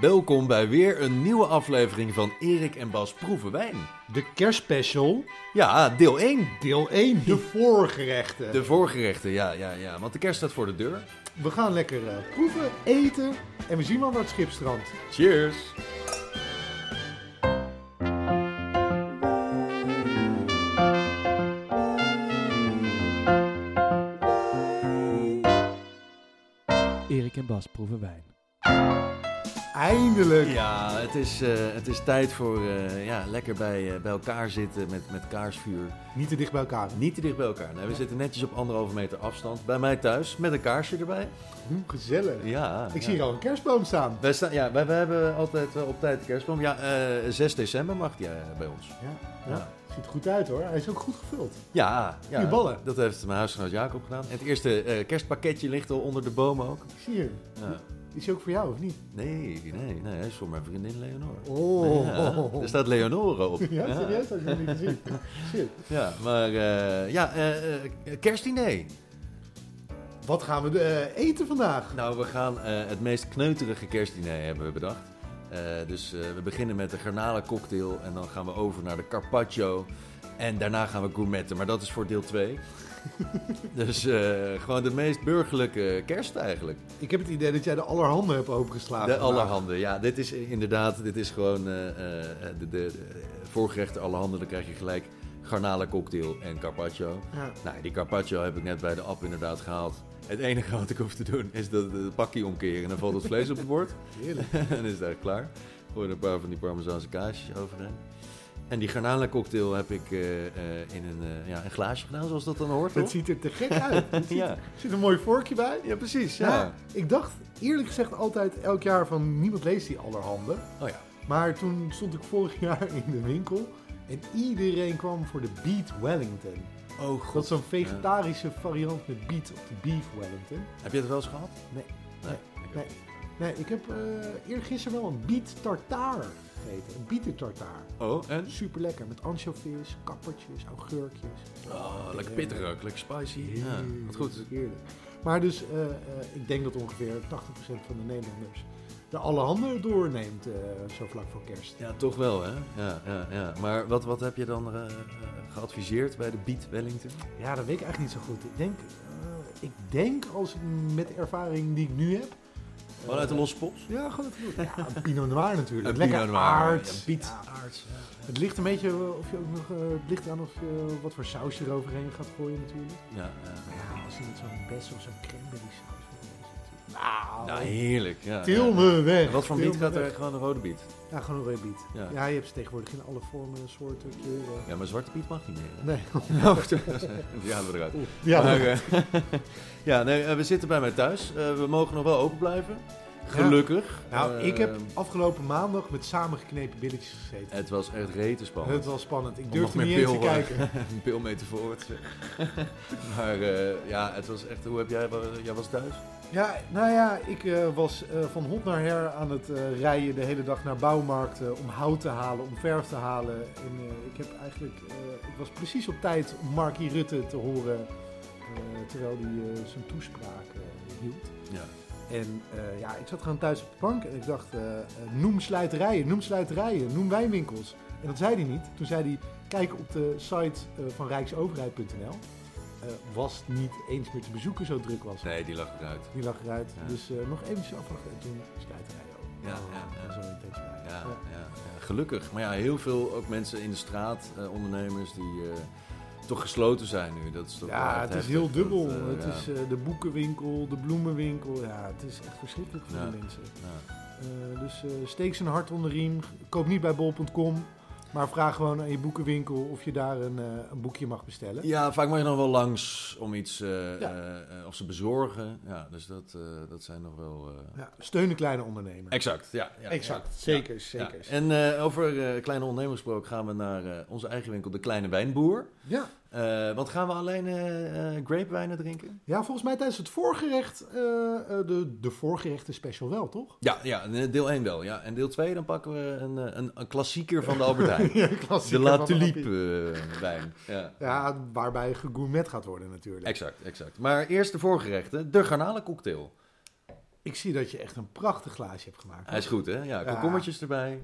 Welkom bij weer een nieuwe aflevering van Erik en Bas Proeven Wijn. De kerstspecial, Ja, deel 1. deel 1, de voorgerechten. De voorgerechten, ja, ja, ja. Want de kerst staat voor de deur. We gaan lekker eh, proeven, eten en we zien wel wat het schip strandt. Cheers. Erik en Bas proeven wijn. Eindelijk! Ja, het is, eh, het is tijd voor eh, ja, lekker bij, eh, bij elkaar zitten met, met kaarsvuur. Niet te dicht bij elkaar. Niet te dicht bij elkaar. Nee, we zitten netjes op anderhalve meter afstand. Bij mij thuis, met een kaarsje erbij. Hm, gezellig. Ja. Ik ja. zie hier al een kerstboom staan. Wij, staan, ja, wij, wij hebben altijd wel op tijd de kerstboom. Ja, eh, 6 december mag die eh, bij ons. Ja, ja. Ja. ziet er goed uit hoor. Hij is ook goed gevuld. Ja, ja. Die ballen. Dat heeft mijn huisgenoot Jacob gedaan. En het eerste eh, kerstpakketje ligt al onder de boom ook. Ik zie je. Ja. Is hij ook voor jou of niet? Nee, nee, nee. Hij is voor mijn vriendin Leonore. Oh, Ja, er staat Leonore op. Ja, serieus? Had ik nog niet gezien. Shit. Ja, maar eh, ja, eh, eh, kerstdiner. Wat gaan we eh, eten vandaag? Nou, we gaan eh, het meest kneuterige kerstdiner hebben we bedacht. Eh, dus eh, we beginnen met de garnalencocktail en dan gaan we over naar de carpaccio. En daarna gaan we gourmetten, maar dat is voor deel 2. dus eh, gewoon de meest burgerlijke kerst eigenlijk. Ik heb het idee dat jij de allerhande hebt opengeslagen. De Ah, vandaag. allerhande, ja. Dit is inderdaad, dit is gewoon eh, eh, de, de, de voorgerechten allerhande. Dan krijg je gelijk garnalencocktail en carpaccio. Ja. Nou, die carpaccio heb ik net bij de app inderdaad gehaald. Het enige wat ik hoef te doen is dat het pakje omkeren. En dan valt het vlees op het bord. Heerlijk. en dan is het eigenlijk klaar. Gooi er een paar van die parmezaanse kaasjes overheen. En die garnalencocktail heb ik eh, eh, in een, eh, ja, een glaasje gedaan, zoals dat dan hoort. Het Toch? ziet er te gek uit. Er ziet- Ja. zit een mooi vorkje bij. Ja, precies. Ja. Ja, ik dacht eerlijk gezegd altijd elk jaar van niemand leest die allerhande. Oh ja. Maar toen stond ik vorig jaar in de winkel en iedereen kwam voor de Beat Wellington. Oh Dat is zo'n vegetarische variant met beet of de beef Wellington. Heb je het wel eens gehad? Nee. Nee. Nee. Nee, ik heb eh eergisteren wel een beet tartaar gegeten. Een bieten tartaar. Oh, en? Super lekker met anchovies, kappertjes, augurkjes. Oh, lekker pittig ook, lekker spicy. Ja, wat goed. Heerlijk. Maar dus, eh, eh, ik denk dat ongeveer 80% van de Nederlanders de allerhande doorneemt eh, zo vlak voor kerst. Ja, toch wel, hè? Ja, ja, ja. Maar wat, wat heb je dan eh, eh, geadviseerd bij de Beat Wellington? Ja, dat weet ik eigenlijk niet zo goed. Ik denk, eh, ik denk als mm, met de ervaring die ik nu heb. eh, Gewoon uit de losse pols? Ja, gewoon het Ja, een Pinot Noir natuurlijk. Een Lekker Pinot Noir, aard. ja, Piet. Ja. Het ligt een beetje eh, of je ook nog, eh, het ligt aan of je wat voor saus je eroverheen gaat gooien natuurlijk. Ja, Maar ja. ja, als je met zo'n best of zo'n cranberry saus. wil, Nou, Nou, heerlijk. Ja, til ja. me weg. En Wat voor til biet me gaat er? weg. Gewoon een rode biet. Ja, gewoon een rode biet. Ja. Ja. je hebt ze tegenwoordig in alle vormen, soorten, kleuren. Ja, maar zwarte biet mag niet meer. hè? Nee. Nou, goed. Die halen we eruit. Ja, Maar, eh, ja, nee, eh, we zitten bij mij thuis. Eh, we mogen nog wel open blijven. Gelukkig. nou, Eh, ik heb afgelopen maandag met samengeknepen billetjes gezeten. Het was echt rete spannend. Het was spannend. Ik Om nog durfde meer niet eens te pil, eh, kijken. Een pil mee te voort. maar eh, ja, het was echt... Hoe heb jij... Jij was thuis? Ja, nou ja, ik eh, was eh, van hond naar her aan het eh, rijden de hele dag naar bouwmarkten om hout te halen, om verf te halen. En eh, ik heb eigenlijk, eh, ik was precies op tijd om Markie Rutte te horen eh, terwijl hij eh, zijn toespraak eh, hield. Ja. En eh, ja, ik zat gewoon thuis op de bank en ik dacht, eh, eh, noem slijterijen, noem slijterijen, noem wijnwinkels. En dat zei hij niet. Toen zei hij, kijk op de site eh, van rijksoverheid.nl. Eh, was niet eens meer te bezoeken, zo druk was het. Nee, die lag eruit. Die lag eruit. Ja. Dus eh, nog eventjes afwachten en toen slijterijen ook. Ja, Oh, ja, ja. dat is wel intens Ja, bij. ja, Ja. ja. gelukkig. Maar ja, heel veel ook mensen in de straat, eh, ondernemers, die eh, toch gesloten zijn nu. Dat is toch wel Ja, echt het is heftig, heel dat, dubbel. eh, het ja. is eh, de boekenwinkel, de bloemenwinkel. Ja, het is echt verschrikkelijk voor Ja. de mensen. Ja. Eh, dus eh, steek zijn hart onder de riem. Koop niet bij bol.com. Maar vraag gewoon aan je boekenwinkel of je daar een, eh, een boekje mag bestellen. Ja, vaak mag je nog wel langs om iets, eh, Ja. eh, eh, of ze bezorgen. Ja, dus dat, eh, dat zijn nog wel... eh, Ja, steun een kleine ondernemer. Exact, ja. ja, exact. ja. Zeker, Ja. zeker. En eh, over eh, kleine ondernemers gesproken gaan we naar eh, onze eigen winkel, De Kleine Wijnboer. Ja. Eh, want gaan we alleen eh eh grapewijnen drinken? ja, volgens mij tijdens het voorgerecht, eh, eh, de, de voorgerechten special wel, toch? Ja, ja deel 1 wel. Ja. En deel 2, dan pakken we een, eh, een, een klassieker van de Albert Heijn. De Klassieker La van Tulipe Appie. eh, wijn. Ja. Ja, waarbij gegourmet gaat worden natuurlijk. Exact, exact. Maar eerst de voorgerechten, de garnalencocktail. Ik zie dat je echt een prachtig glaasje hebt gemaakt. Hij is goed, hè? Ja, komkommertjes erbij.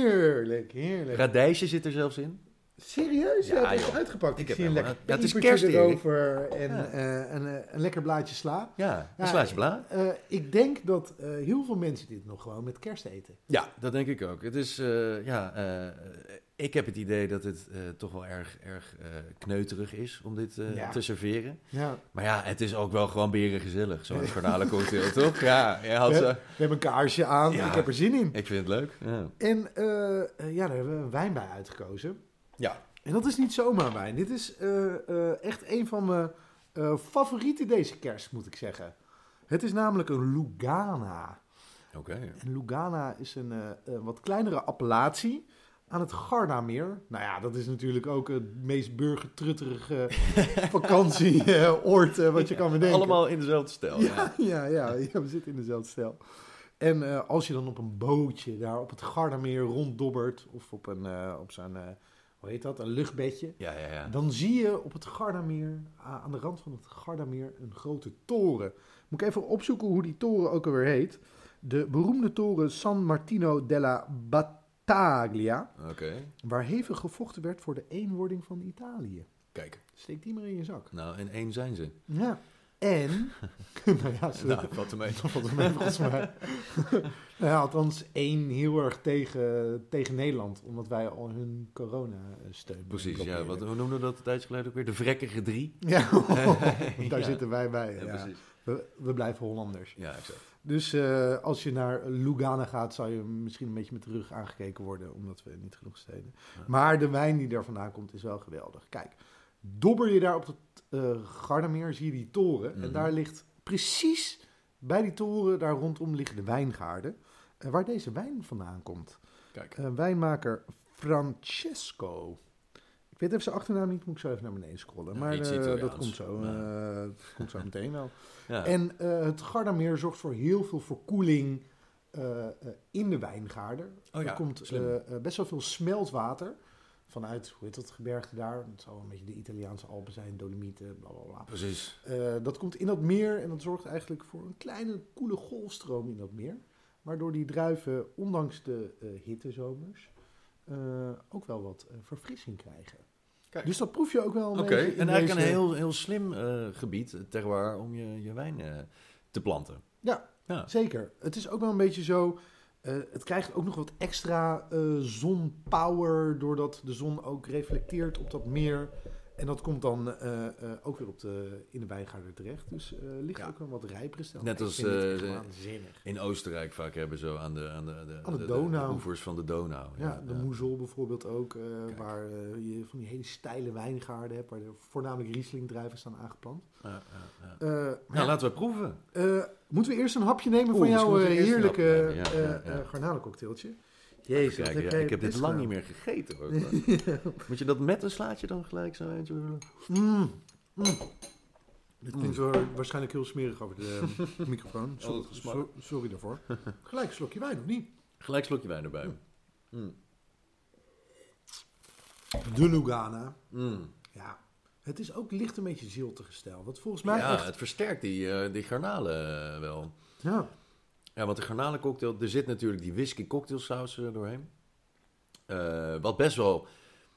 Heerlijk, heerlijk. Radijsje zit er zelfs in. Serieus? Je Ja, hebt het joh. uitgepakt. Ik Ik, heb zie een helemaal- lekker Ja, het is pepertje kerst, Erik. erover en Ja. eh, een, eh, een lekker blaadje sla. Ja, Ja, een slaatje bla. Eh, ik denk dat eh, heel veel mensen dit nog gewoon met kerst eten. Ja, dat denk ik ook. Het is, eh, ja, eh, ik heb het idee dat het eh, toch wel erg, erg eh, kneuterig is om dit eh, Ja. te serveren. Ja. Maar ja, het is ook wel gewoon beren gezellig, zo'n garnalencocktail, toch? Ja, je had, We, eh, we hebben een kaarsje aan, Ja. ik heb er zin in. ik vind het leuk. Ja. En eh, eh, ja, daar hebben we een wijn bij uitgekozen. Ja. En dat is niet zomaar wijn. Dit is eh, eh, echt een van mijn eh, favorieten deze kerst, moet ik zeggen. Het is namelijk een Lugana. Oké. En Lugana is een eh, eh, wat kleinere appellatie aan het Gardameer. Nou ja, dat is natuurlijk ook het meest burgertrutterige vakantieoord eh, wat je kan bedenken. Allemaal in dezelfde stijl. Ja, ja, ja, ja, we zitten in dezelfde stijl. En eh, als je dan op een bootje daar op het Gardameer ronddobbert... of op, een, eh, op zo'n, eh, hoe heet dat, een luchtbedje... ja, ja. ja. dan zie je op het Gardameer, a- aan de rand van het Gardameer, een grote toren. Moet ik even opzoeken hoe die toren ook alweer heet. De beroemde toren San Martino della Battaglia... Oké, waar hevig gevochten werd voor de eenwording van Italië. kijk. Steek die maar in je zak. Nou, in één zijn ze. Ja. En... nou ja, ze- Nou, valt ermee. dat valt mee, volgens mij. nou ja, althans één heel erg tegen, tegen Nederland, omdat wij al hun corona eh, steun Precies, ja. blokkeerden. Wat, hoe noemden we dat een tijdje geleden ook weer? De vrekkige drie. Ja, daar Ja. zitten wij bij. Ja, precies. We, we blijven Hollanders. Ja, exact. Dus eh, als je naar Lugana gaat, zou je misschien een beetje met de rug aangekeken worden, omdat we niet genoeg steden. Ja. Maar de wijn die daar vandaan komt is wel geweldig. Kijk, dobber je daar op het eh Gardameer, zie je die toren. Mhm. En daar ligt precies bij die toren, daar rondom liggen de wijngaarden, eh, waar deze wijn vandaan komt. Kijk. Eh, wijnmaker Francesco. Ik weet even zijn achternaam niet, moet ik zo even naar beneden scrollen. Ja, maar iets eh, dat, Italiaans. komt zo, Ja. eh, dat komt zo meteen wel. Ja. En eh, het Gardameer zorgt voor heel veel verkoeling eh, eh, in de wijngaarden. Oh ja, er komt slim. eh, eh, best wel veel smeltwater vanuit, hoe heet dat gebergte daar? Het zal een beetje de Italiaanse Alpen zijn, Dolomieten, bla bla bla. Precies. Eh, dat komt in dat meer en dat zorgt eigenlijk voor een kleine koele golfstroom in dat meer. Waardoor die druiven, ondanks de eh hittezomers, eh, ook wel wat eh, verfrissing krijgen. Kijk. Dus dat proef je ook wel een Oké, beetje in en eigenlijk deze- een heel, heel slim eh, gebied, eh, terroir, om je, je wijn eh, te planten. Ja. ja. Zeker. Het is ook wel een beetje zo... eh, het krijgt ook nog wat extra eh, zonpower... doordat de zon ook reflecteert op dat meer... En dat komt dan eh, eh, ook weer op de, in de wijngaarden terecht. Dus eh, ligt Ja. ook een wat rijpere stijl. Net Ik als, vind dit echt eh, waanzinnig. In Oostenrijk vaak hebben ze zo aan de, aan de, de, Aan de Donau. oevers van de Donau. Ja, de moezel bijvoorbeeld ook, eh, waar eh, je van die hele steile wijngaarden hebt, waar er voornamelijk Riesling-druiven staan aangeplant. Ja, ja, ja. Eh, maar Nou, laten we proeven. ja, eh, moeten we eerst een hapje nemen Oeh, van misschien jouw eh, moeten we eerst een heerlijke hapje nemen, ja, eh, ja, ja. eh, garnalencocktailtje? Jezus, wat heb jij ik heb dit best lang niet gedaan. meer gegeten. Hoor. Moet je dat met een slaatje dan gelijk zo eentje willen? Mm, mm. Dit klinkt wel waarschijnlijk heel smerig over de eh, microfoon. Al dat So- gesmak. so- sorry daarvoor. Gelijk een slokje wijn, of niet? Gelijk slokje wijn erbij. De Lugana. Mm. Ja, het is ook licht een beetje ziltige stijl. Wat volgens mij ja, echt... het versterkt die, eh, die garnalen eh, wel. Ja, Ja, want de garnalencocktail, er zit natuurlijk die whisky cocktailsaus er doorheen. Eh, wat best wel,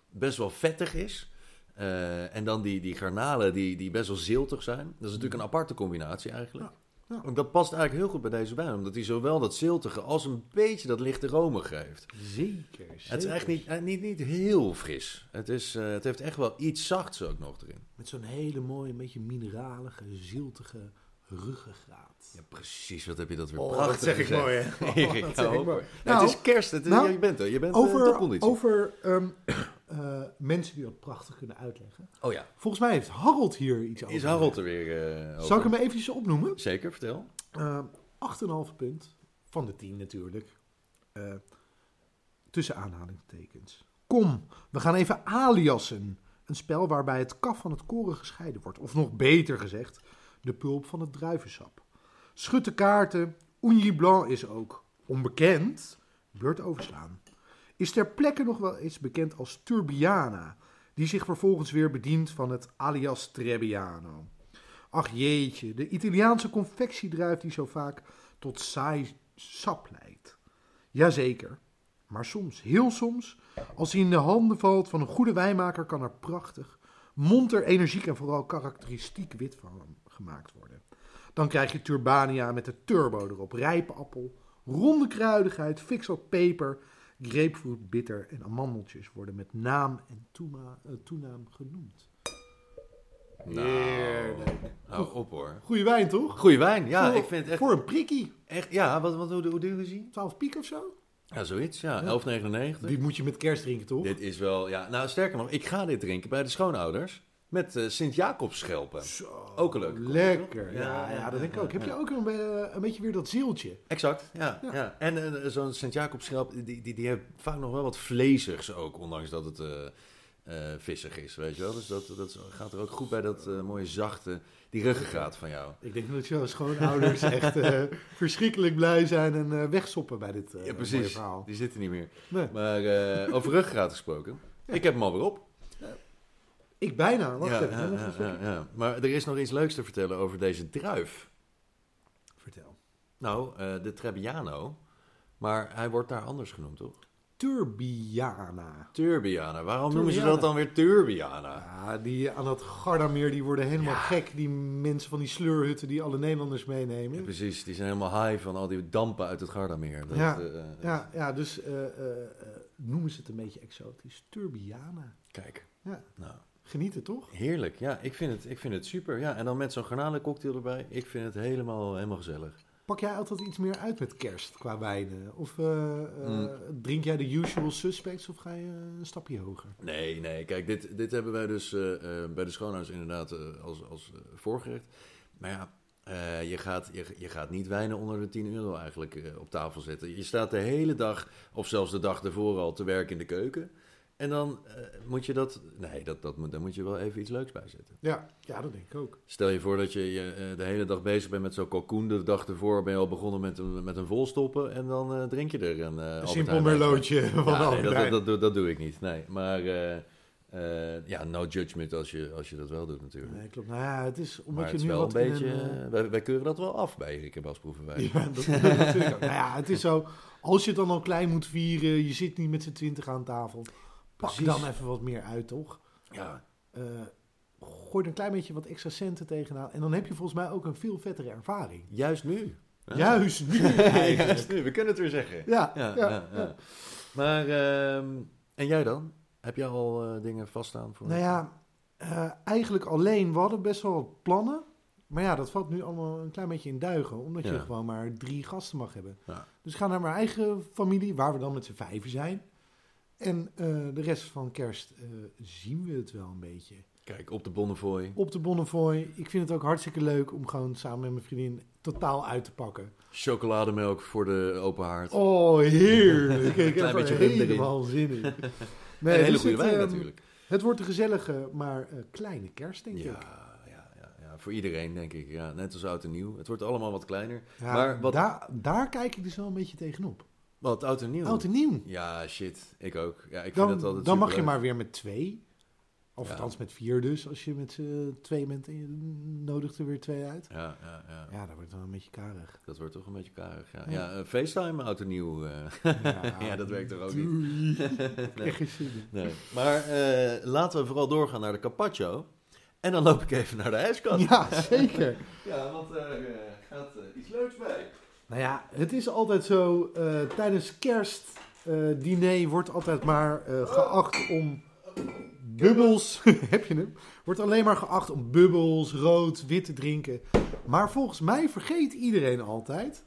best wel vettig is. Eh, en dan die, die garnalen die, die best wel ziltig zijn. Dat is natuurlijk een aparte combinatie eigenlijk. Mhm. Ja, ja. Want Dat past eigenlijk heel goed bij deze wijn. Omdat hij zowel dat ziltige als een beetje dat lichte romige heeft. zeker, Het is echt niet, eh, niet, niet heel fris. Het, is, eh, het heeft echt wel iets zachts ook nog erin. Met zo'n hele mooie, een beetje mineralige, ziltige ruggengraat. Ja, precies. Wat heb je dat weer Oh, prachtig dat zeg ik gezegd. mooi, hè? Oh, Erik, hou dat zeg ik op, mooi. hoor. Nou, het is kerst. Het is, nou, ja, je bent er. Je bent eh, Over, topconditie. over ehm, eh, mensen die dat prachtig kunnen uitleggen. Oh ja. Volgens mij heeft Harold hier iets over. Is Harold er weer eh, over? Zal ik hem eventjes opnoemen? Zeker, vertel. Eh, 8,5 punt van de 10 natuurlijk. Eh, tussen aanhalingstekens. Kom, we gaan even aliasen. Een spel waarbij het kaf van het koren gescheiden wordt. Of nog beter gezegd, de pulp van het druivensap. Schud de kaarten. Oigny blanc is ook onbekend. Beurt overslaan. Is ter plekke nog wel eens bekend als Turbiana. Die zich vervolgens weer bedient van het alias Trebbiano. Ach jeetje, de Italiaanse confectiedruif die zo vaak tot saai sap leidt. Jazeker, maar soms, heel soms, als hij in de handen valt van een goede wijnmaker, kan er prachtig, monter, energiek en vooral karakteristiek wit van gemaakt worden. Dan krijg je Turbania met de turbo erop, rijpe appel, ronde kruidigheid, fix op peper, grapefruit, bitter en amandeltjes worden met naam en toema- eh, toenaam genoemd. Nou. Heerlijk. Hou op hoor. Goeie wijn, toch? Goeie wijn, ja. Voor- Ik vind het echt... Voor een prikkie. echt ja, wat, wat, hoe, hoe duur is die? 12 piek of zo? Ja, zoiets, ja. Ja. 11,99. Die moet je met kerst drinken, toch? Dit is wel, ja. Nou, sterker nog, ik ga dit drinken bij de schoonouders. Met eh Sint-Jacobsschelpen. Zo. Ook een leuke Lekker. combi, toch? Ja, Ja, ja, ja, dat denk ik ook. ja, Heb ja. je ook een, be- een beetje weer dat zieltje? Exact, ja. ja. Ja. En eh, zo'n Sint-Jacobsschelp, die, die, die heeft vaak nog wel wat vleesigs ook. Ondanks dat het eh, eh, vissig is, weet je wel. Dus dat, dat gaat er ook goed bij dat eh, mooie zachte, die ruggengraat van jou. Ik denk dat jouw schoonouders echt eh, verschrikkelijk blij zijn en eh, wegsoppen bij dit eh, Ja, mooie precies. verhaal. Die zitten niet meer. Nee. Maar eh, over ruggengraat gesproken. Ja. Ik heb hem alweer op. Ik bijna. Wacht Ja, even. ja, nog ja, een slokje. ja, ja. Maar er is nog iets leuks te vertellen over deze druif. Vertel. Nou, eh, de Trebbiano. Maar hij wordt daar anders genoemd, toch? Turbiana. Turbiana. Waarom noemen ze Turbiana. dat dan weer Turbiana? Ja, Ah, die aan dat Gardameer, die worden helemaal Ja. gek. Die mensen van die sleurhutten die alle Nederlanders meenemen. Ja, precies, die zijn helemaal high van al die dampen uit het Gardameer. Dat, Ja, eh, eh, Ja, ja dus eh, eh, eh, noemen ze het een beetje exotisch. Turbiana. Kijk, Ja. nou, Genieten toch? heerlijk. Ja, ik vind het, ik vind het super. Ja, en dan met zo'n garnalencocktail erbij. Ik vind het helemaal, helemaal gezellig. Pak jij altijd iets meer uit met kerst qua wijnen? Of eh, eh, Mm. drink jij de usual suspects of ga je een stapje hoger? Nee, nee, kijk, dit, dit hebben wij dus eh, eh, bij de schoonhuis inderdaad eh, als, als eh, voorgerecht. Maar ja, eh, je, gaat, je, je gaat niet wijnen onder de 10 euro eigenlijk eh, op tafel zetten. Je staat de hele dag, of zelfs de dag ervoor al, te werk in de keuken. En dan eh, moet je dat... Nee, dat, dat, moet- daar moet je wel even iets leuks bij zetten. Ja, ja dat denk ik ook. Stel je voor dat je, je eh, de hele dag bezig bent met zo'n kalkoen. De dag ervoor ben je al begonnen met een, met een volstoppen. En dan eh, drink je er een... eh, Een Albert simpel Heijn bij. merlootje van Ja, nee, Albert dat, Heijn. dat, dat, doe- dat doe ik niet. Nee. Maar eh, eh, ja, no judgment als je, als je dat wel doet natuurlijk. Nee, klopt. Nou ja, het is omdat maar je het is nu wel een wat in beetje... een, eh, eh, wij, wij keuren dat wel af bij Erik en Bas Proevenwijn. Ja, dat, dat natuurlijk ook. Nou ja, het is zo. Als je het dan al klein moet vieren, je zit niet met z'n twintig aan tafel. Pak Precies. dan even wat meer uit, toch? Ja. Eh, gooi er een klein beetje wat extra centen tegenaan. En dan heb je volgens mij ook een veel vettere ervaring. Juist nu. Ja. Juist nu Juist eigenlijk. nu, we kunnen het weer zeggen. Ja, Ja, ja, ja, ja. ja. Maar, ehm, en jij dan? Heb jij al eh, dingen vaststaan? Voor Nou ja, eh, eigenlijk alleen. We hadden best wel wat plannen. Maar ja, dat valt nu allemaal een klein beetje in duigen. Omdat Ja. je gewoon maar drie gasten mag hebben. Ja. Dus ik ga naar mijn eigen familie, waar we dan met z'n vijven zijn. En eh, de rest van kerst eh, zien we het wel een beetje. Kijk, op de Bonnefoy. Op de Bonnefoy. Ik vind het ook hartstikke leuk om gewoon samen met mijn vriendin totaal uit te pakken. Chocolademelk voor de open haard. Oh, heerlijk. Een Ik klein heb beetje er rum erin. helemaal zin in. Nee, En een hele dus goede het, wijn ehm, natuurlijk. Het wordt een gezellige, maar eh, kleine kerst, denk Ja, ik. ja, ja, ja, voor iedereen denk ik. Ja, net als oud en nieuw. Het wordt allemaal wat kleiner. Ja, Maar wat- daar, daar kijk ik dus wel een beetje tegenop. Wat oud en nieuw? Oud en nieuw. Ja, shit. Ik ook. Ja, ik Dan, vind dat altijd dan mag je superleuk. maar weer met twee. Of Ja. althans met vier dus. Als je met z'n twee bent en je nodigt er weer twee uit. Ja, ja, ja. Ja, dat wordt dan een beetje karig. Dat wordt toch een beetje karig. Ja, Ja. ja eh, FaceTime oud en nieuw. eh. Ja, dat werkt er ook niet. doei. Nee. Echt geen zin in. Nee. Maar eh, laten we vooral doorgaan naar de Carpaccio. En dan loop ik even naar de ijskast. Ja, zeker. Ja, want daar eh, gaat eh, iets leuks bij. Nou ja, het is altijd zo. eh, tijdens kerstdiner diner wordt altijd maar eh, geacht om bubbels. heb je hem? Wordt alleen maar geacht om bubbels, rood, wit te drinken. Maar volgens mij vergeet iedereen altijd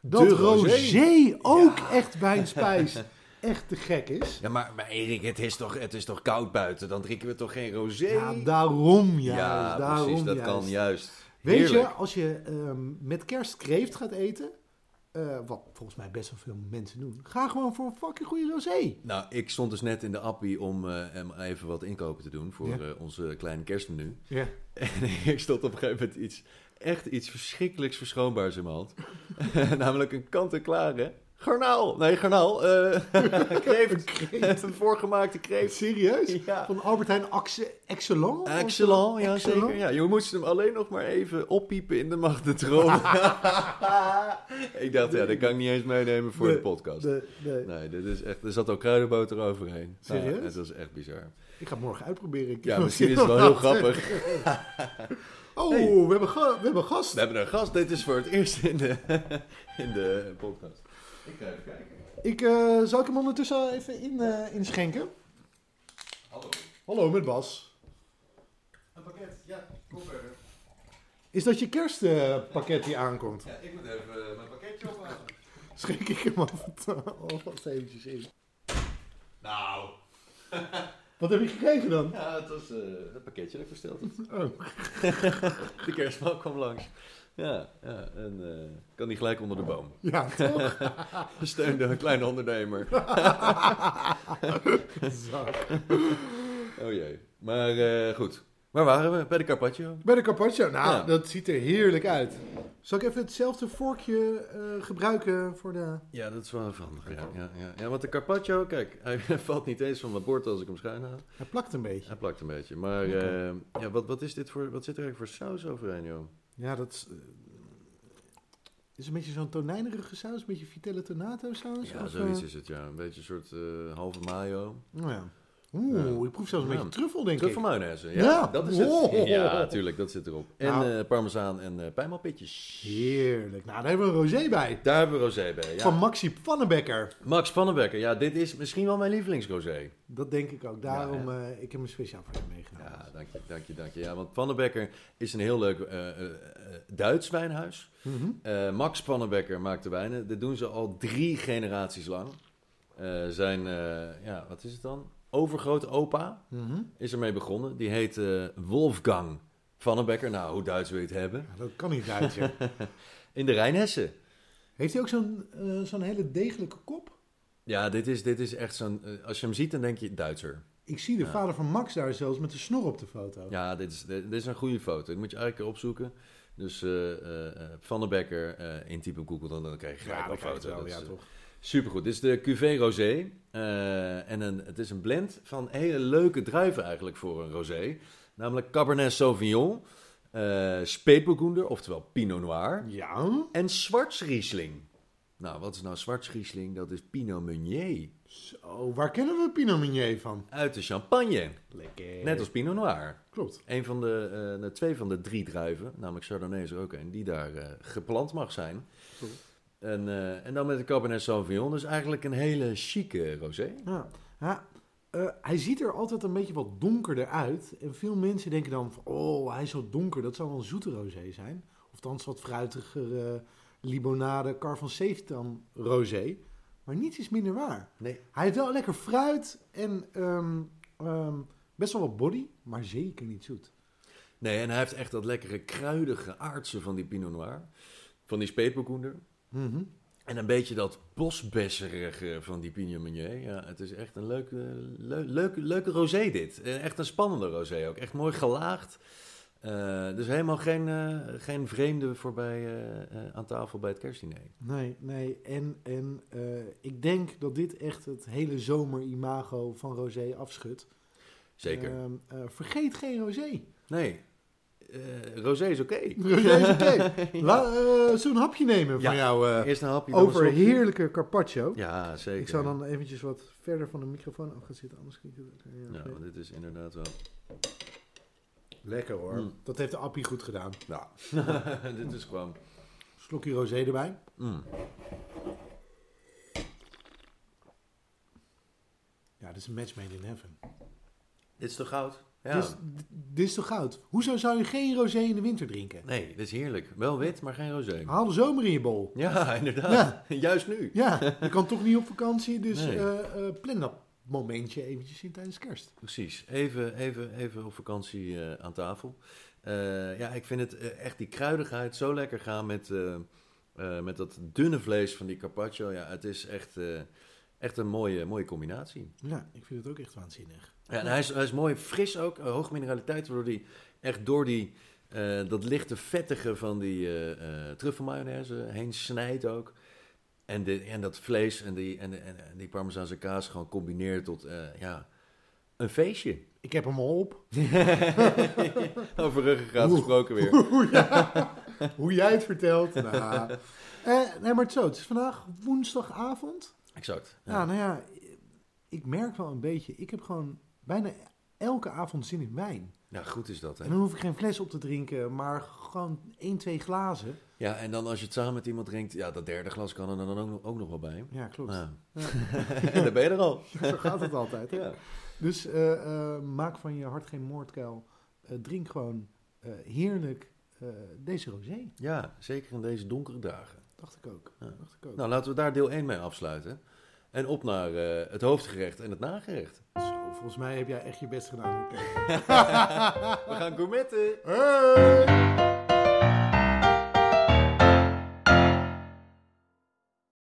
dat De rosé, rosé. ook echt bij een spijs echt te gek is. Ja, maar, maar Erik, het is, toch, het is toch koud buiten? Dan drinken we toch geen rosé? Ja, daarom juist. ja daarom precies. Dat juist. kan juist. Weet je, Heerlijk. als je ehm, met kerst kreeft gaat eten, eh, wat volgens mij best wel veel mensen doen, ga gewoon voor een fucking goede rosé. Nou, ik stond dus net in de appie om eh, hem even wat inkopen te doen voor Ja. eh, onze kleine kerstmenu. Ja. En ik stond op een gegeven moment iets, echt iets verschrikkelijks verschoonbaars in mijn hand. Namelijk een kant-en-klare Garnaal. Nee, garnaal. eh kreeft. Een voorgemaakte kreeft. Serieus? Ja. Van Albert Heijn Axe- Excellent? Excellent, ja Excellent? zeker. Ja, je moest hem alleen nog maar even oppiepen in de magnetron. ik dacht, ja, dat kan ik niet eens meenemen voor Nee, de podcast. De, de, Nee, dit is echt, er zat al kruidenboter overheen. Serieus? Oh, Ja, het was echt bizar. Ik ga het morgen uitproberen. Ik- Ja, misschien is het wel heel grappig. Oh, Hey. we, hebben ga- we hebben gast. We hebben een gast, dit is voor het eerst in de, in de podcast. Ik ga even kijken. Ik, eh, zal ik hem ondertussen even in, eh, inschenken? Hallo. Hallo, met Bas. Een pakket, ja, kom verder. Is dat je kerstpakket die aankomt? Ja, ik moet even eh, mijn pakketje ophalen. Schrik ik hem af en toe alvast eventjes in. Nou, Wat heb je gekregen dan? ja, het was eh het pakketje dat ik besteld had. Oh. De kerstman kwam langs. Ja, ja en eh, kan die gelijk onder de boom. Ja, toch? Steunde een kleine ondernemer. Zak. Oh jee. Maar eh, goed. Waar waren we? Bij de Carpaccio. Bij de carpaccio, nou, Ja. dat ziet er heerlijk uit. Zal ik even hetzelfde vorkje eh, gebruiken voor de... Ja, dat is wel een verandering. Ja, ja, ja. ja, want de Carpaccio, kijk, hij valt niet eens van mijn bord als ik hem schuin haal. Hij plakt een beetje. Hij plakt een beetje. Maar Oké. eh, ja, wat, wat, is dit voor, wat zit er eigenlijk voor saus overheen, joh? Ja, dat is, eh, is een beetje zo'n tonijnerige saus, een beetje vitelle tonato saus. Ja, of, zoiets eh, is het, ja. Een beetje een soort eh, halve mayo. nou ja. Oeh, ik proef zelfs een Ja. beetje truffel, denk Truffel ik. mayonaise. Ja, Ja. dat is het. Oh. Ja, natuurlijk, dat zit erop. En Nou. eh, parmezaan en eh pijnmalpitjes. Heerlijk. Nou, daar hebben we een rosé bij. Daar hebben we rosé bij, ja. Van Maxi Pannenbekker. Max Pannenbecker, ja, dit is misschien wel mijn lievelingsrosé. Dat denk ik ook. Daarom, Ja, eh, ik heb hem speciaal voor hem meegenomen. Ja, dank je, dank je, dank je. Ja, want Pannenbecker is een heel leuk eh, eh, eh, Duits wijnhuis. Mhm. Eh, Max Pannenbecker maakt de wijnen. Dit doen ze al drie generaties lang. Eh, zijn, eh, ja, wat is het dan? Overgroot opa Mhm. is ermee begonnen. Die heet eh, Wolfgang Pannenbecker. Nou, hoe Duits wil je het hebben? Ja, dat kan niet Duitser. In de Rijnhessen. Heeft hij ook zo'n eh, zo'n hele degelijke kop? Ja, dit is, dit is echt zo'n... eh, als je hem ziet, dan denk je Duitser. Ik zie de Ja. vader van Max daar zelfs met een snor op de foto. Ja, dit is, dit dit is een goede foto. Die moet je eigenlijk opzoeken. Dus eh eh eh, Van der Becker eh intypen op Google, dan, dan krijg je gelijk dat een krijg je foto. wel, Dat ja, is, eh, toch. Supergoed. Dit is de Cuvée Rosé. Eh, en een, het is een blend van hele leuke druiven eigenlijk voor een rosé. Namelijk Cabernet Sauvignon, eh Spätburgunder, oftewel Pinot Noir. Ja, En Zwartsriesling. Nou, wat is nou Zwartsriesling? Dat is Pinot Meunier. zo. Waar kennen we Pinot Meunier van? Uit de Champagne. Lekker. Net als Pinot Noir. Klopt. Een van de, eh, nou, twee van de drie druiven, namelijk Chardonnay is er ook een, die daar eh, geplant mag zijn. Cool. En, eh, en dan met de Cabernet Sauvignon, dus eigenlijk een hele chique rosé. Ja. Ja, eh, hij ziet er altijd een beetje wat donkerder uit. En veel mensen denken dan van, oh, hij is zo donker. Dat zou wel een zoete rosé zijn. Of thans wat fruitiger eh, limonade, car van Seeftan rosé. Maar niets is minder waar. Nee. Hij heeft wel lekker fruit en ehm, ehm, best wel wat body, maar zeker niet zoet. Nee, en hij heeft echt dat lekkere kruidige aardse van die Pinot Noir, van die Spätburgunder. Mhm. En een beetje dat bosbesserige van die Pinot Meunier. Ja, het is echt een leuke, leu- leuke, leuke rosé dit. Eh, Echt een spannende rosé ook. Echt mooi gelaagd. Eh, dus helemaal geen, eh, geen vreemde voorbij eh, eh, aan tafel bij het kerstdiner. Nee, nee. En, en eh, ik denk dat dit echt het hele zomerimago van rosé afschudt. Zeker. Ehm, eh, vergeet geen rosé. nee. Eh, rosé is oké. Rosé is oké. La- eh, Zullen we een hapje nemen van Ja. jou eh, Eerst een hapje. dan over een slokje. heerlijke carpaccio? Ja, zeker. ik zou dan eventjes wat verder van de microfoon af gaan zitten, anders klinkt het... oké, ja, Ja, oké. want Nou, dit is inderdaad wel... Lekker hoor. Mm. Dat heeft de appie goed gedaan. Nou, dit is gewoon... Slokje rosé erbij. Mm. Ja, dit is een match made in heaven. Dit is toch goud? Ja. Dit, is, d- dit is toch goud? Hoezo zou je geen rosé in de winter drinken? Nee, dit is heerlijk. Wel wit, maar geen rosé. Haal de zomer in je bol. Ja, inderdaad. Ah. Ja. Juist nu. Ja, je kan toch niet op vakantie, dus Nee. eh, eh, plan dat momentje eventjes in tijdens kerst. Precies. Even, even, even op vakantie eh, aan tafel. Eh, ja, ik vind het eh, echt die kruidigheid zo lekker gaan met, eh, eh, met dat dunne vlees van die carpaccio. Ja, het is echt, eh, echt een mooie, mooie combinatie. Ja, ik vind het ook echt waanzinnig. Ja, en hij is, hij is mooi fris ook, eh, hoge mineraliteit, waardoor die echt door die, eh, dat lichte vettige van die eh eh truffelmayonaise heen snijdt ook. En, de, en dat vlees en die, en, de- en, en die parmezaanse kaas gewoon combineert tot eh, ja, een feestje. Ik heb hem al op. Over ruggengraat Oeh. gesproken weer. Hoe jij het vertelt. Nou. Eh, nee, maar het zo. Het is vandaag woensdagavond. Exact. Ja. nou ja, ik merk wel een beetje. Ik heb gewoon bijna elke avond zin in wijn. Nou, goed is dat, hè? En dan hoef ik geen fles op te drinken, maar gewoon één, twee glazen. Ja, en dan als je het samen met iemand drinkt, ja, dat derde glas kan er dan ook, nog- ook nog wel bij. Ja, klopt. Ja. Ja. en dan ben je er al. Zo gaat het altijd. hè? Ja. Dus eh, eh, maak van je hart geen moordkuil. Eh, drink gewoon eh, heerlijk eh, deze rosé. ja, zeker in deze donkere dagen. Dacht ik ook. Ja. Dacht ik ook. Nou, laten we daar deel 1 mee afsluiten. En op naar eh, het hoofdgerecht en het nagerecht. Zo, volgens mij heb jij echt je best gedaan. Rick. We gaan gourmetten! Hey!